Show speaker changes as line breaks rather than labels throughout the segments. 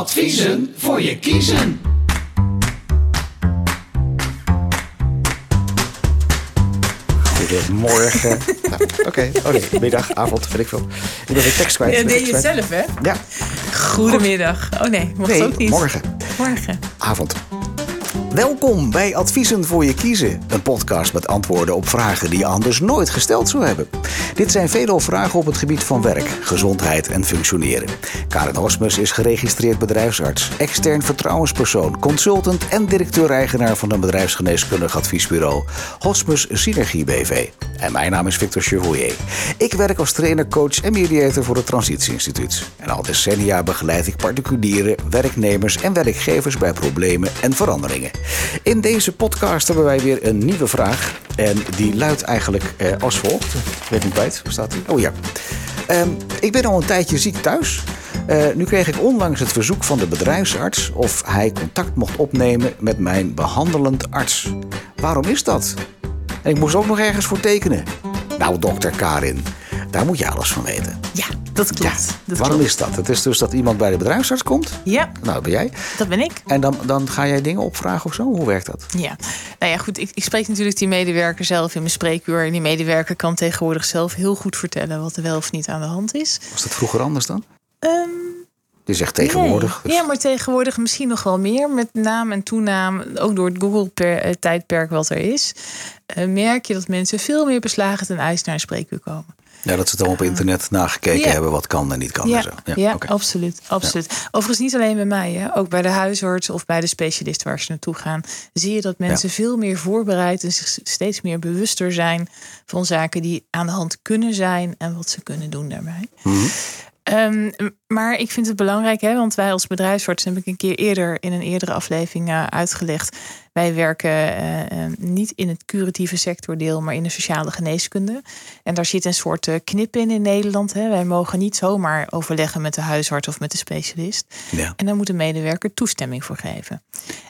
Adviezen voor je kiezen.
Goedemorgen. nou, Oké, oh nee, middag, avond, weet ik veel. Ik ben weer tekst kwijt.
Ja,
ben
deed
tekst
je het
kwijt.
zelf, hè?
Ja,
Goedemiddag. Oh nee, mocht ook
nee,
niet.
morgen,
Morgen.
avond. Welkom bij Adviezen voor je kiezen. Een podcast met antwoorden op vragen die je anders nooit gesteld zou hebben. Dit zijn veelal vragen op het gebied van werk, gezondheid en functioneren. Karen Hosmus is geregistreerd bedrijfsarts, extern vertrouwenspersoon, consultant en directeur-eigenaar van een bedrijfsgeneeskundig adviesbureau Hosmus Synergie BV. En mijn naam is Victor Chevoyer. Ik werk als trainer, coach en mediator voor het Transitieinstituut. En al decennia begeleid ik particulieren, werknemers en werkgevers bij problemen en veranderingen. In deze podcast hebben wij weer een nieuwe vraag. En die luidt eigenlijk eh, als volgt. Ik weet niet kwijt, waar staat die? Oh ja. Ehm, ik ben al een tijdje ziek thuis. Eh, nu kreeg ik onlangs het verzoek van de bedrijfsarts of hij contact mocht opnemen met mijn behandelend arts. Waarom is dat? En ik moest ook nog ergens voor tekenen. Nou, dokter Karin, daar moet je alles van weten.
Ja, dat klopt. dat
Waarom
klopt.
is dat? Het is dus dat iemand bij de bedrijfsarts komt.
Ja,
Nou, dat ben jij.
dat ben ik.
En dan, dan ga jij dingen opvragen of zo? Hoe werkt dat?
Ja, nou ja, goed. Ik, ik spreek natuurlijk die medewerker zelf in mijn spreekuur. En die medewerker kan tegenwoordig zelf heel goed vertellen wat er wel of niet aan de hand is.
Was dat vroeger anders dan?
Ehm,
Je zegt tegenwoordig. dus-
Nee. Ja, maar tegenwoordig misschien nog wel meer. Met naam en toenaam, ook door het Google-tijdperk wat er is. eh, merk je dat mensen veel meer beslagen ten ijs naar een spreekuur komen.
Ja, dat ze dan op internet nagekeken
eh, ja.
hebben wat kan en niet kan en
ja,
zo.
ja, oh.
oké.
absoluut. absoluut. Overigens niet alleen bij mij. Hè. Ook bij de huisarts of bij de specialist waar ze naartoe gaan. Zie je dat mensen veel meer voorbereid en zich steeds meer bewuster zijn van zaken die aan de hand kunnen zijn en wat ze kunnen doen daarbij. Ehm, m- maar ik vind het belangrijk, hè, want wij als bedrijfsarts heb ik een keer eerder in een eerdere aflevering eh, uitgelegd. Wij werken eh, eh, niet in het curatieve sectordeel, maar in de sociale geneeskunde. En daar zit een soort eh, knip in in Nederland. Hè. Wij mogen niet zomaar overleggen met de huisarts of met de specialist.
Ja.
En daar moet de medewerker toestemming voor geven.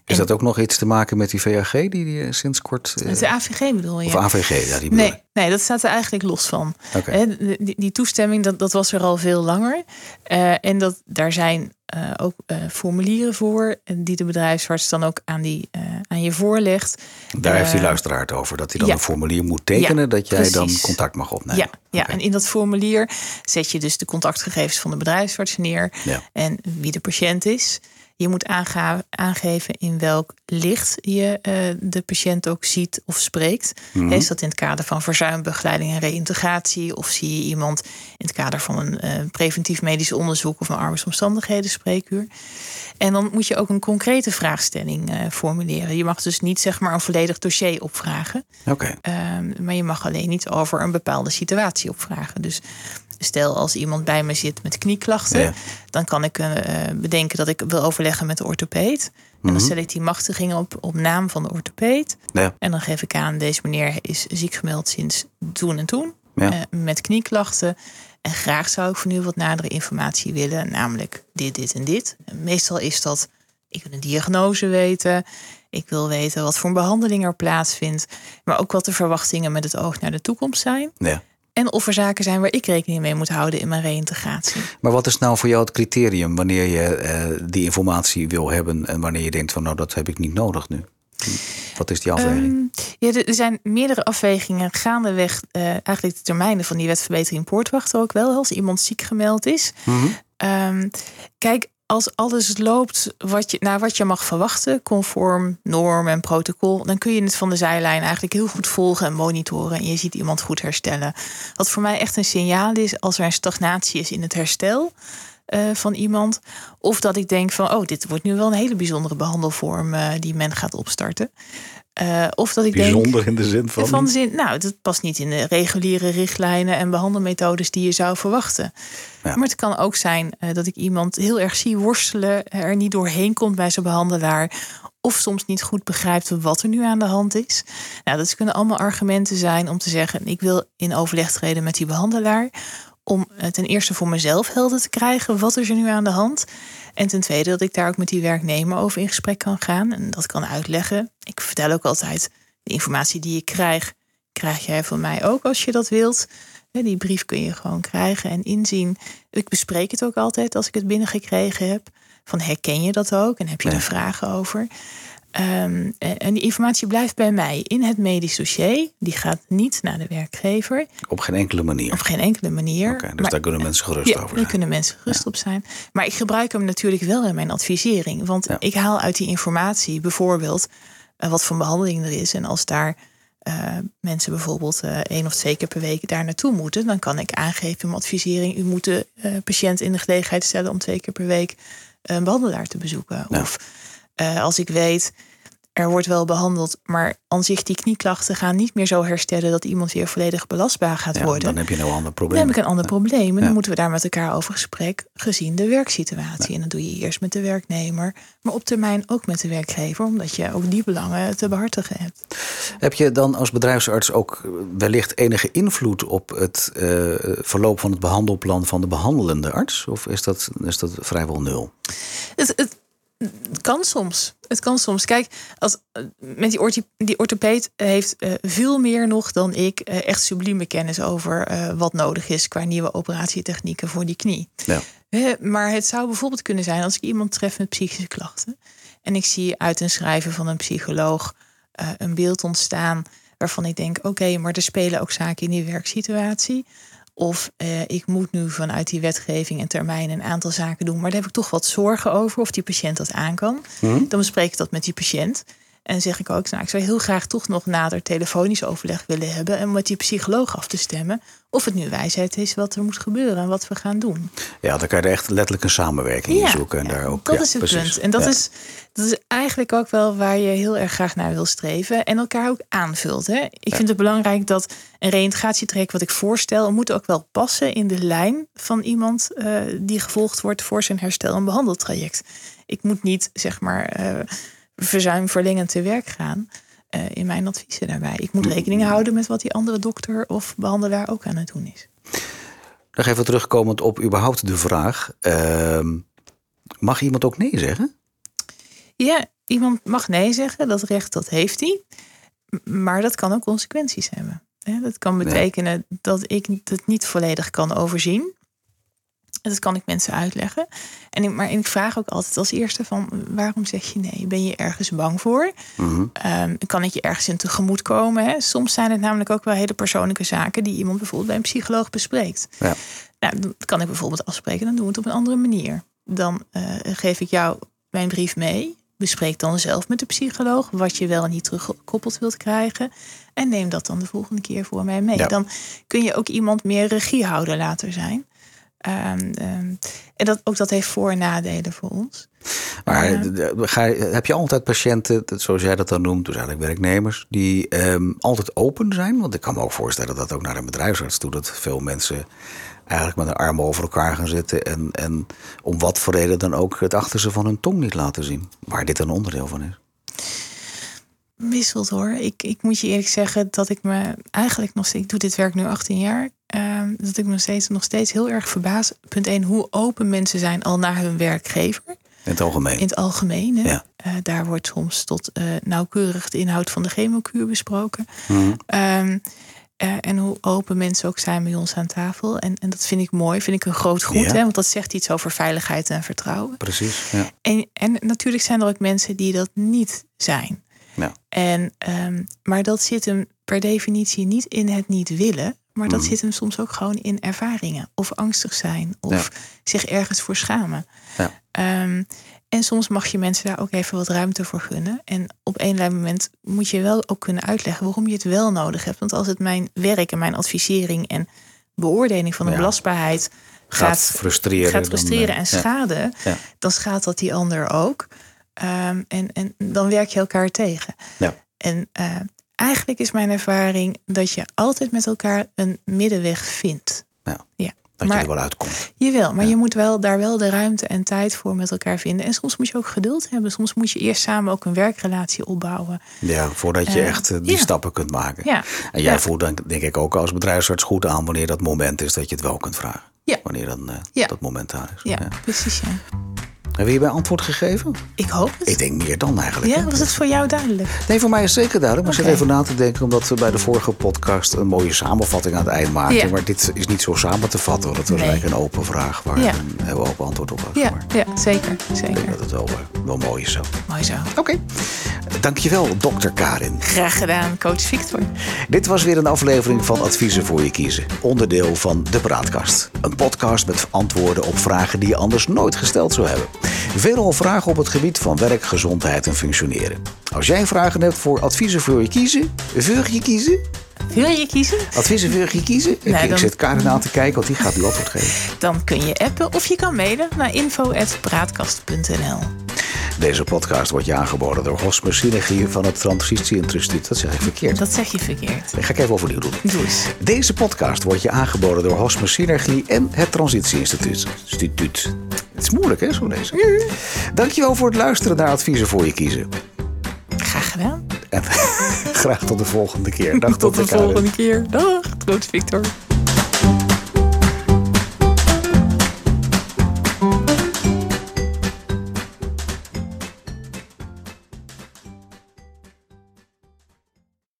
Is dat ook nog iets te maken met die VAG die, die eh, sinds kort... eh,
De AVG bedoel je?
of AVG, ja, die bedoel
Nee,
ik.
nee, dat staat er eigenlijk los van.
Oké.
Hè, de- die, die toestemming, dat, dat was er al veel langer. Eh, en dat, daar zijn eh, ook eh, formulieren voor... eh, die de bedrijfsarts dan ook aan, die, eh, aan je voorlegt.
Daar heeft die
Eh,
luisteraar het over. Dat hij dan
ja.
een formulier moet tekenen
Ja,
dat jij dan
precies.
contact mag opnemen.
Ja, ja,
Oké.
en in dat formulier zet je dus de contactgegevens van de bedrijfsarts neer...
Ja.
en wie de patiënt is. Je moet aanga- aangeven in welk licht je eh, de patiënt ook ziet of spreekt.
Mhm.
Is dat in het kader van verzuimbegeleiding en reïntegratie? Of zie je iemand in het kader van een eh, preventief medisch onderzoek of een arbeidsomstandigheden spreekuur? En dan moet je ook een concrete vraagstelling eh, formuleren. Je mag dus niet zeg maar een volledig dossier opvragen.
Oké.
Ehm, maar je mag alleen niet over een bepaalde situatie opvragen. Dus stel als iemand bij me zit met knieklachten,
Ja.
dan kan ik eh, eh, bedenken dat ik wil overleggen met de orthopeet. En dan stel ik die machtigingen op, op naam van de orthopeet.
Ja.
En dan geef ik aan, deze meneer is ziek gemeld sinds toen en toen.
Ja.
eh, met knieklachten. En graag zou ik van u wat nadere informatie willen. Namelijk dit, dit en dit. En meestal is dat, ik wil een diagnose weten. Ik wil weten wat voor een behandeling er plaatsvindt. Maar ook wat de verwachtingen met het oog naar de toekomst zijn.
ja.
En of er zaken zijn waar ik rekening mee moet houden in mijn reïntegratie.
Maar wat is nou voor jou het criterium wanneer je eh, die informatie wil hebben en wanneer je denkt van nou dat heb ik niet nodig nu? Wat is die afweging?
Ehm, ja, er er zijn meerdere afwegingen gaandeweg. eh, eigenlijk de termijnen van die wetverbetering poortwachter ook wel. Als iemand ziek gemeld is. Ehm, kijk, als alles loopt wat je, naar wat je mag verwachten. Conform norm en protocol. Dan kun je het van de zijlijn eigenlijk heel goed volgen en monitoren. En je ziet iemand goed herstellen. Wat voor mij echt een signaal is als er een stagnatie is in het herstel eh, van iemand. Of dat ik denk van, oh, dit wordt nu wel een hele bijzondere behandelvorm eh, die men gaat opstarten. Eh, of dat ik denk
in de zin
van, zin, nou, dat past niet in de reguliere richtlijnen en behandelmethodes die je zou verwachten.
Ja.
Maar het kan ook zijn eh, dat ik iemand heel erg zie worstelen, er niet doorheen komt bij zijn behandelaar. Of soms niet goed begrijpt wat er nu aan de hand is. Nou, dat kunnen allemaal argumenten zijn om te zeggen: ik wil in overleg treden met die behandelaar. Om eh, ten eerste voor mezelf helder te krijgen wat is er nu aan de hand. En ten tweede dat ik daar ook met die werknemer over in gesprek kan gaan en dat kan uitleggen. Ik vertel ook altijd: de informatie die je krijgt, krijg jij van mij ook als je dat wilt. Hè, Die brief kun je gewoon krijgen en inzien. Ik bespreek het ook altijd als ik het binnengekregen heb. van herken je dat ook en heb je
Ja.
er vragen over. Ehm, en en die informatie blijft bij mij in het medisch dossier. Die gaat niet naar de werkgever
Op geen enkele manier.
op geen enkele manier.
Oké, dus
Maar-
daar kunnen mensen gerust
ja,
over
daar
zijn.
kunnen mensen gerust op zijn. Maar ik gebruik hem natuurlijk wel in mijn advisering. Want
Ja.
ik haal uit die informatie bijvoorbeeld eh, wat voor behandeling er is. En als daar eh, mensen bijvoorbeeld eh, één of twee keer per week daar naartoe moeten, dan kan ik aangeven in mijn advisering: u moet de eh, patiënt in de gelegenheid stellen om twee keer per week eh, een behandelaar te bezoeken.
Ja.
Of eh, als ik weet. Er wordt wel behandeld, maar aan zich die knieklachten gaan niet meer zo herstellen dat iemand weer volledig belastbaar gaat
Ja,
worden.
dan heb je nou een ander probleem.
Dan heb ik een ander probleem. En dan
Ja.
moeten we daar met elkaar over gesprek gezien de werksituatie. En dat doe je eerst met de werknemer, maar op termijn ook met de werkgever, omdat je ook die belangen te behartigen hebt.
Heb je dan als bedrijfsarts ook wellicht enige invloed op het eh, verloop van het behandelplan van de behandelende arts? Of is dat, is dat vrijwel nul?
Het, het, het kan soms. Het kan soms. Kijk, als, eh, met die, orthi- die orthopeed heeft eh, veel meer nog dan ik eh, echt sublieme kennis over eh, wat nodig is qua nieuwe operatietechnieken voor die knie.
Ja.
Hè, maar het zou bijvoorbeeld kunnen zijn als ik iemand tref met psychische klachten. En ik zie uit een schrijven van een psycholoog eh, een beeld ontstaan waarvan ik denk, oké, maar er spelen ook zaken in die werksituatie. Of eh, ik moet nu vanuit die wetgeving en termijn een aantal zaken doen, maar daar heb ik toch wat zorgen over of die patiënt dat aan kan. Dan bespreek ik dat met die patiënt. En zeg ik ook, nou, ik zou heel graag toch nog nader telefonisch overleg willen hebben. En met die psycholoog af te stemmen. Of het nu wijsheid is wat er moet gebeuren en wat we gaan doen.
ja, dan kan je er echt letterlijk een samenwerking in zoeken. En
ja,
daar ook,
dat
ja,
is het
precies.
punt. En dat,
Ja.
is, dat is eigenlijk ook wel waar je heel erg graag naar wil streven. En elkaar ook aanvult. Hè? Ik vind het belangrijk dat een reïntegratietraject wat ik voorstel... moet ook wel passen in de lijn van iemand... eh, die gevolgd wordt voor zijn herstel- en behandeltraject. Ik moet niet, zeg maar, eh verzuimverlengend te werk gaan... eh, in mijn adviezen daarbij. Ik
Mm.
moet rekening houden met wat die andere dokter of behandelaar ook aan het doen is.
Nog even terugkomend op überhaupt de vraag. ehm, mag iemand ook nee zeggen?
Ja, iemand mag nee zeggen, dat recht dat heeft hij. M- Maar dat kan ook consequenties hebben. Hè, Dat kan betekenen dat ik het niet volledig kan overzien. En Dat kan ik mensen uitleggen. En ik, maar ik vraag ook altijd als eerste van waarom zeg je nee? Ben je ergens bang voor? Ehm, kan ik je ergens in tegemoet komen? Hè? Soms zijn het namelijk ook wel hele persoonlijke zaken die iemand bijvoorbeeld bij een psycholoog bespreekt.
Ja.
Nou, dat kan ik bijvoorbeeld afspreken, dan doen we het op een andere manier. Dan eh, geef ik jou mijn brief mee. Bespreek dan zelf met de psycholoog wat je wel en niet teruggekoppeld wilt krijgen. En neem dat dan de volgende keer voor mij mee.
Ja.
Dan kun je ook iemand meer regiehouder later zijn. Ehm, ehm, en dat, ook dat heeft voor- en nadelen voor ons.
Maar
Ja.
d- d- ga, je- heb je altijd patiënten, dat- zoals jij dat dan noemt, dus eigenlijk werknemers, die ehm, altijd open zijn? Want ik kan me ook voorstellen dat ook naar een bedrijfsarts toe, dat veel mensen eigenlijk met hun armen over elkaar gaan zitten en, en om wat voor reden dan ook het achterste van hun tong niet laten zien. Waar dit een onderdeel van is.
wisselt hoor. Ik, ik moet je eerlijk zeggen dat ik me eigenlijk nog steeds, ik doe dit werk nu 18 jaar, ehm, dat ik me steeds, nog steeds heel erg verbaas. Punt 1, hoe open mensen zijn al naar hun werkgever.
In het algemeen.
In het algemeen. Hè?
Ja.
Eh, daar wordt soms tot eh, nauwkeurig de inhoud van de chemokuur besproken.
Mhm.
Ehm, eh, en hoe open mensen ook zijn bij ons aan tafel. En, en dat vind ik mooi, vind ik een groot goed.
Ja.
Hè? Want dat zegt iets over veiligheid en vertrouwen.
Precies. Ja.
En, en natuurlijk zijn er ook mensen die dat niet zijn.
Ja.
En, ehm, maar dat zit hem per definitie niet in het niet willen. Maar
Mhm.
dat zit hem soms ook gewoon in ervaringen. Of angstig zijn. Of zich ergens voor schamen.
Ja.
Ehm, en soms mag je mensen daar ook even wat ruimte voor gunnen. En op een lijn moment moet je wel ook kunnen uitleggen waarom je het wel nodig hebt. Want als het mijn werk en mijn advisering en beoordeling van de
Ja.
belastbaarheid
Gaat
gaat,
frustreren,
gaat
dan,
frustreren
eh,
en
ja.
schaden,
Ja.
dan schaadt dat die ander ook. Ehm, en, en dan werk je elkaar tegen.
Ja.
En eh, eigenlijk is mijn ervaring dat je altijd met elkaar een middenweg vindt.
Ja.
Ja.
Dat
Maar-
je er wel uitkomt.
Jawel, maar je moet wel, daar wel de ruimte en tijd voor met elkaar vinden. En soms moet je ook geduld hebben. Soms moet je eerst samen ook een werkrelatie opbouwen.
Ja, voordat je
Eh,
echt eh, die
ja.
stappen kunt maken.
Ja.
En jij
Ja.
voelt dan denk ik ook als bedrijfsarts goed aan wanneer dat moment is dat je het wel kunt vragen.
Ja.
Wanneer dan eh,
Ja.
dat moment daar is.
Ja,
Ja.
precies. Ja.
Hebben we hierbij antwoord gegeven?
Ik hoop het.
Ik denk meer dan eigenlijk.
Ja,
hè?
was het voor jou duidelijk?
Nee, voor mij is het zeker duidelijk. Maar ik
Oké.
zat even na te denken, omdat we bij de vorige podcast een mooie samenvatting aan het eind maakten.
Ja.
Maar dit is niet zo samen te vatten, want het was
Nee.
eigenlijk een open vraag waar
Ja.
een heel open antwoord op was.
Ja,
Maar
ja zeker.
ik denk
zeker.
dat het wel, eh, wel mooi is zo.
Mooi zo.
Oké, dankjewel, dokter Karin.
Graag gedaan, coach Victor.
Dit was weer een aflevering van Adviezen voor je kiezen, onderdeel van De Praatkast. Een podcast met antwoorden op vragen die je anders nooit gesteld zou hebben. Veelal vragen op het gebied van werk, gezondheid en functioneren. Als jij vragen hebt voor adviezen voor je kiezen, voor je kiezen,
Wil je kiezen?
adviezen voor je kiezen. Ik-
Nou,
ik
dan-
zit Karin aan te kijken, want die gaat nu antwoord geven.
Dan kun je appen of je kan mailen naar info.praatkast.nl.
Deze podcast wordt je aangeboden door Hosmer Synergie van het Transitie Instituut. Dat zeg ik verkeerd.
Dat zeg je verkeerd.
Dat ga ik even overnieuw doen.
Doe eens.
Deze podcast wordt je aangeboden door Hosmer Synergie en het Transitie Instituut. Instituut. Het is moeilijk, hè, zo lezen. Dankjewel voor het luisteren naar adviezen voor je kiezen.
Graag gedaan.
En graag tot de volgende keer. Dag,
Tot de
Karin.
volgende keer. Dag, coach Victor.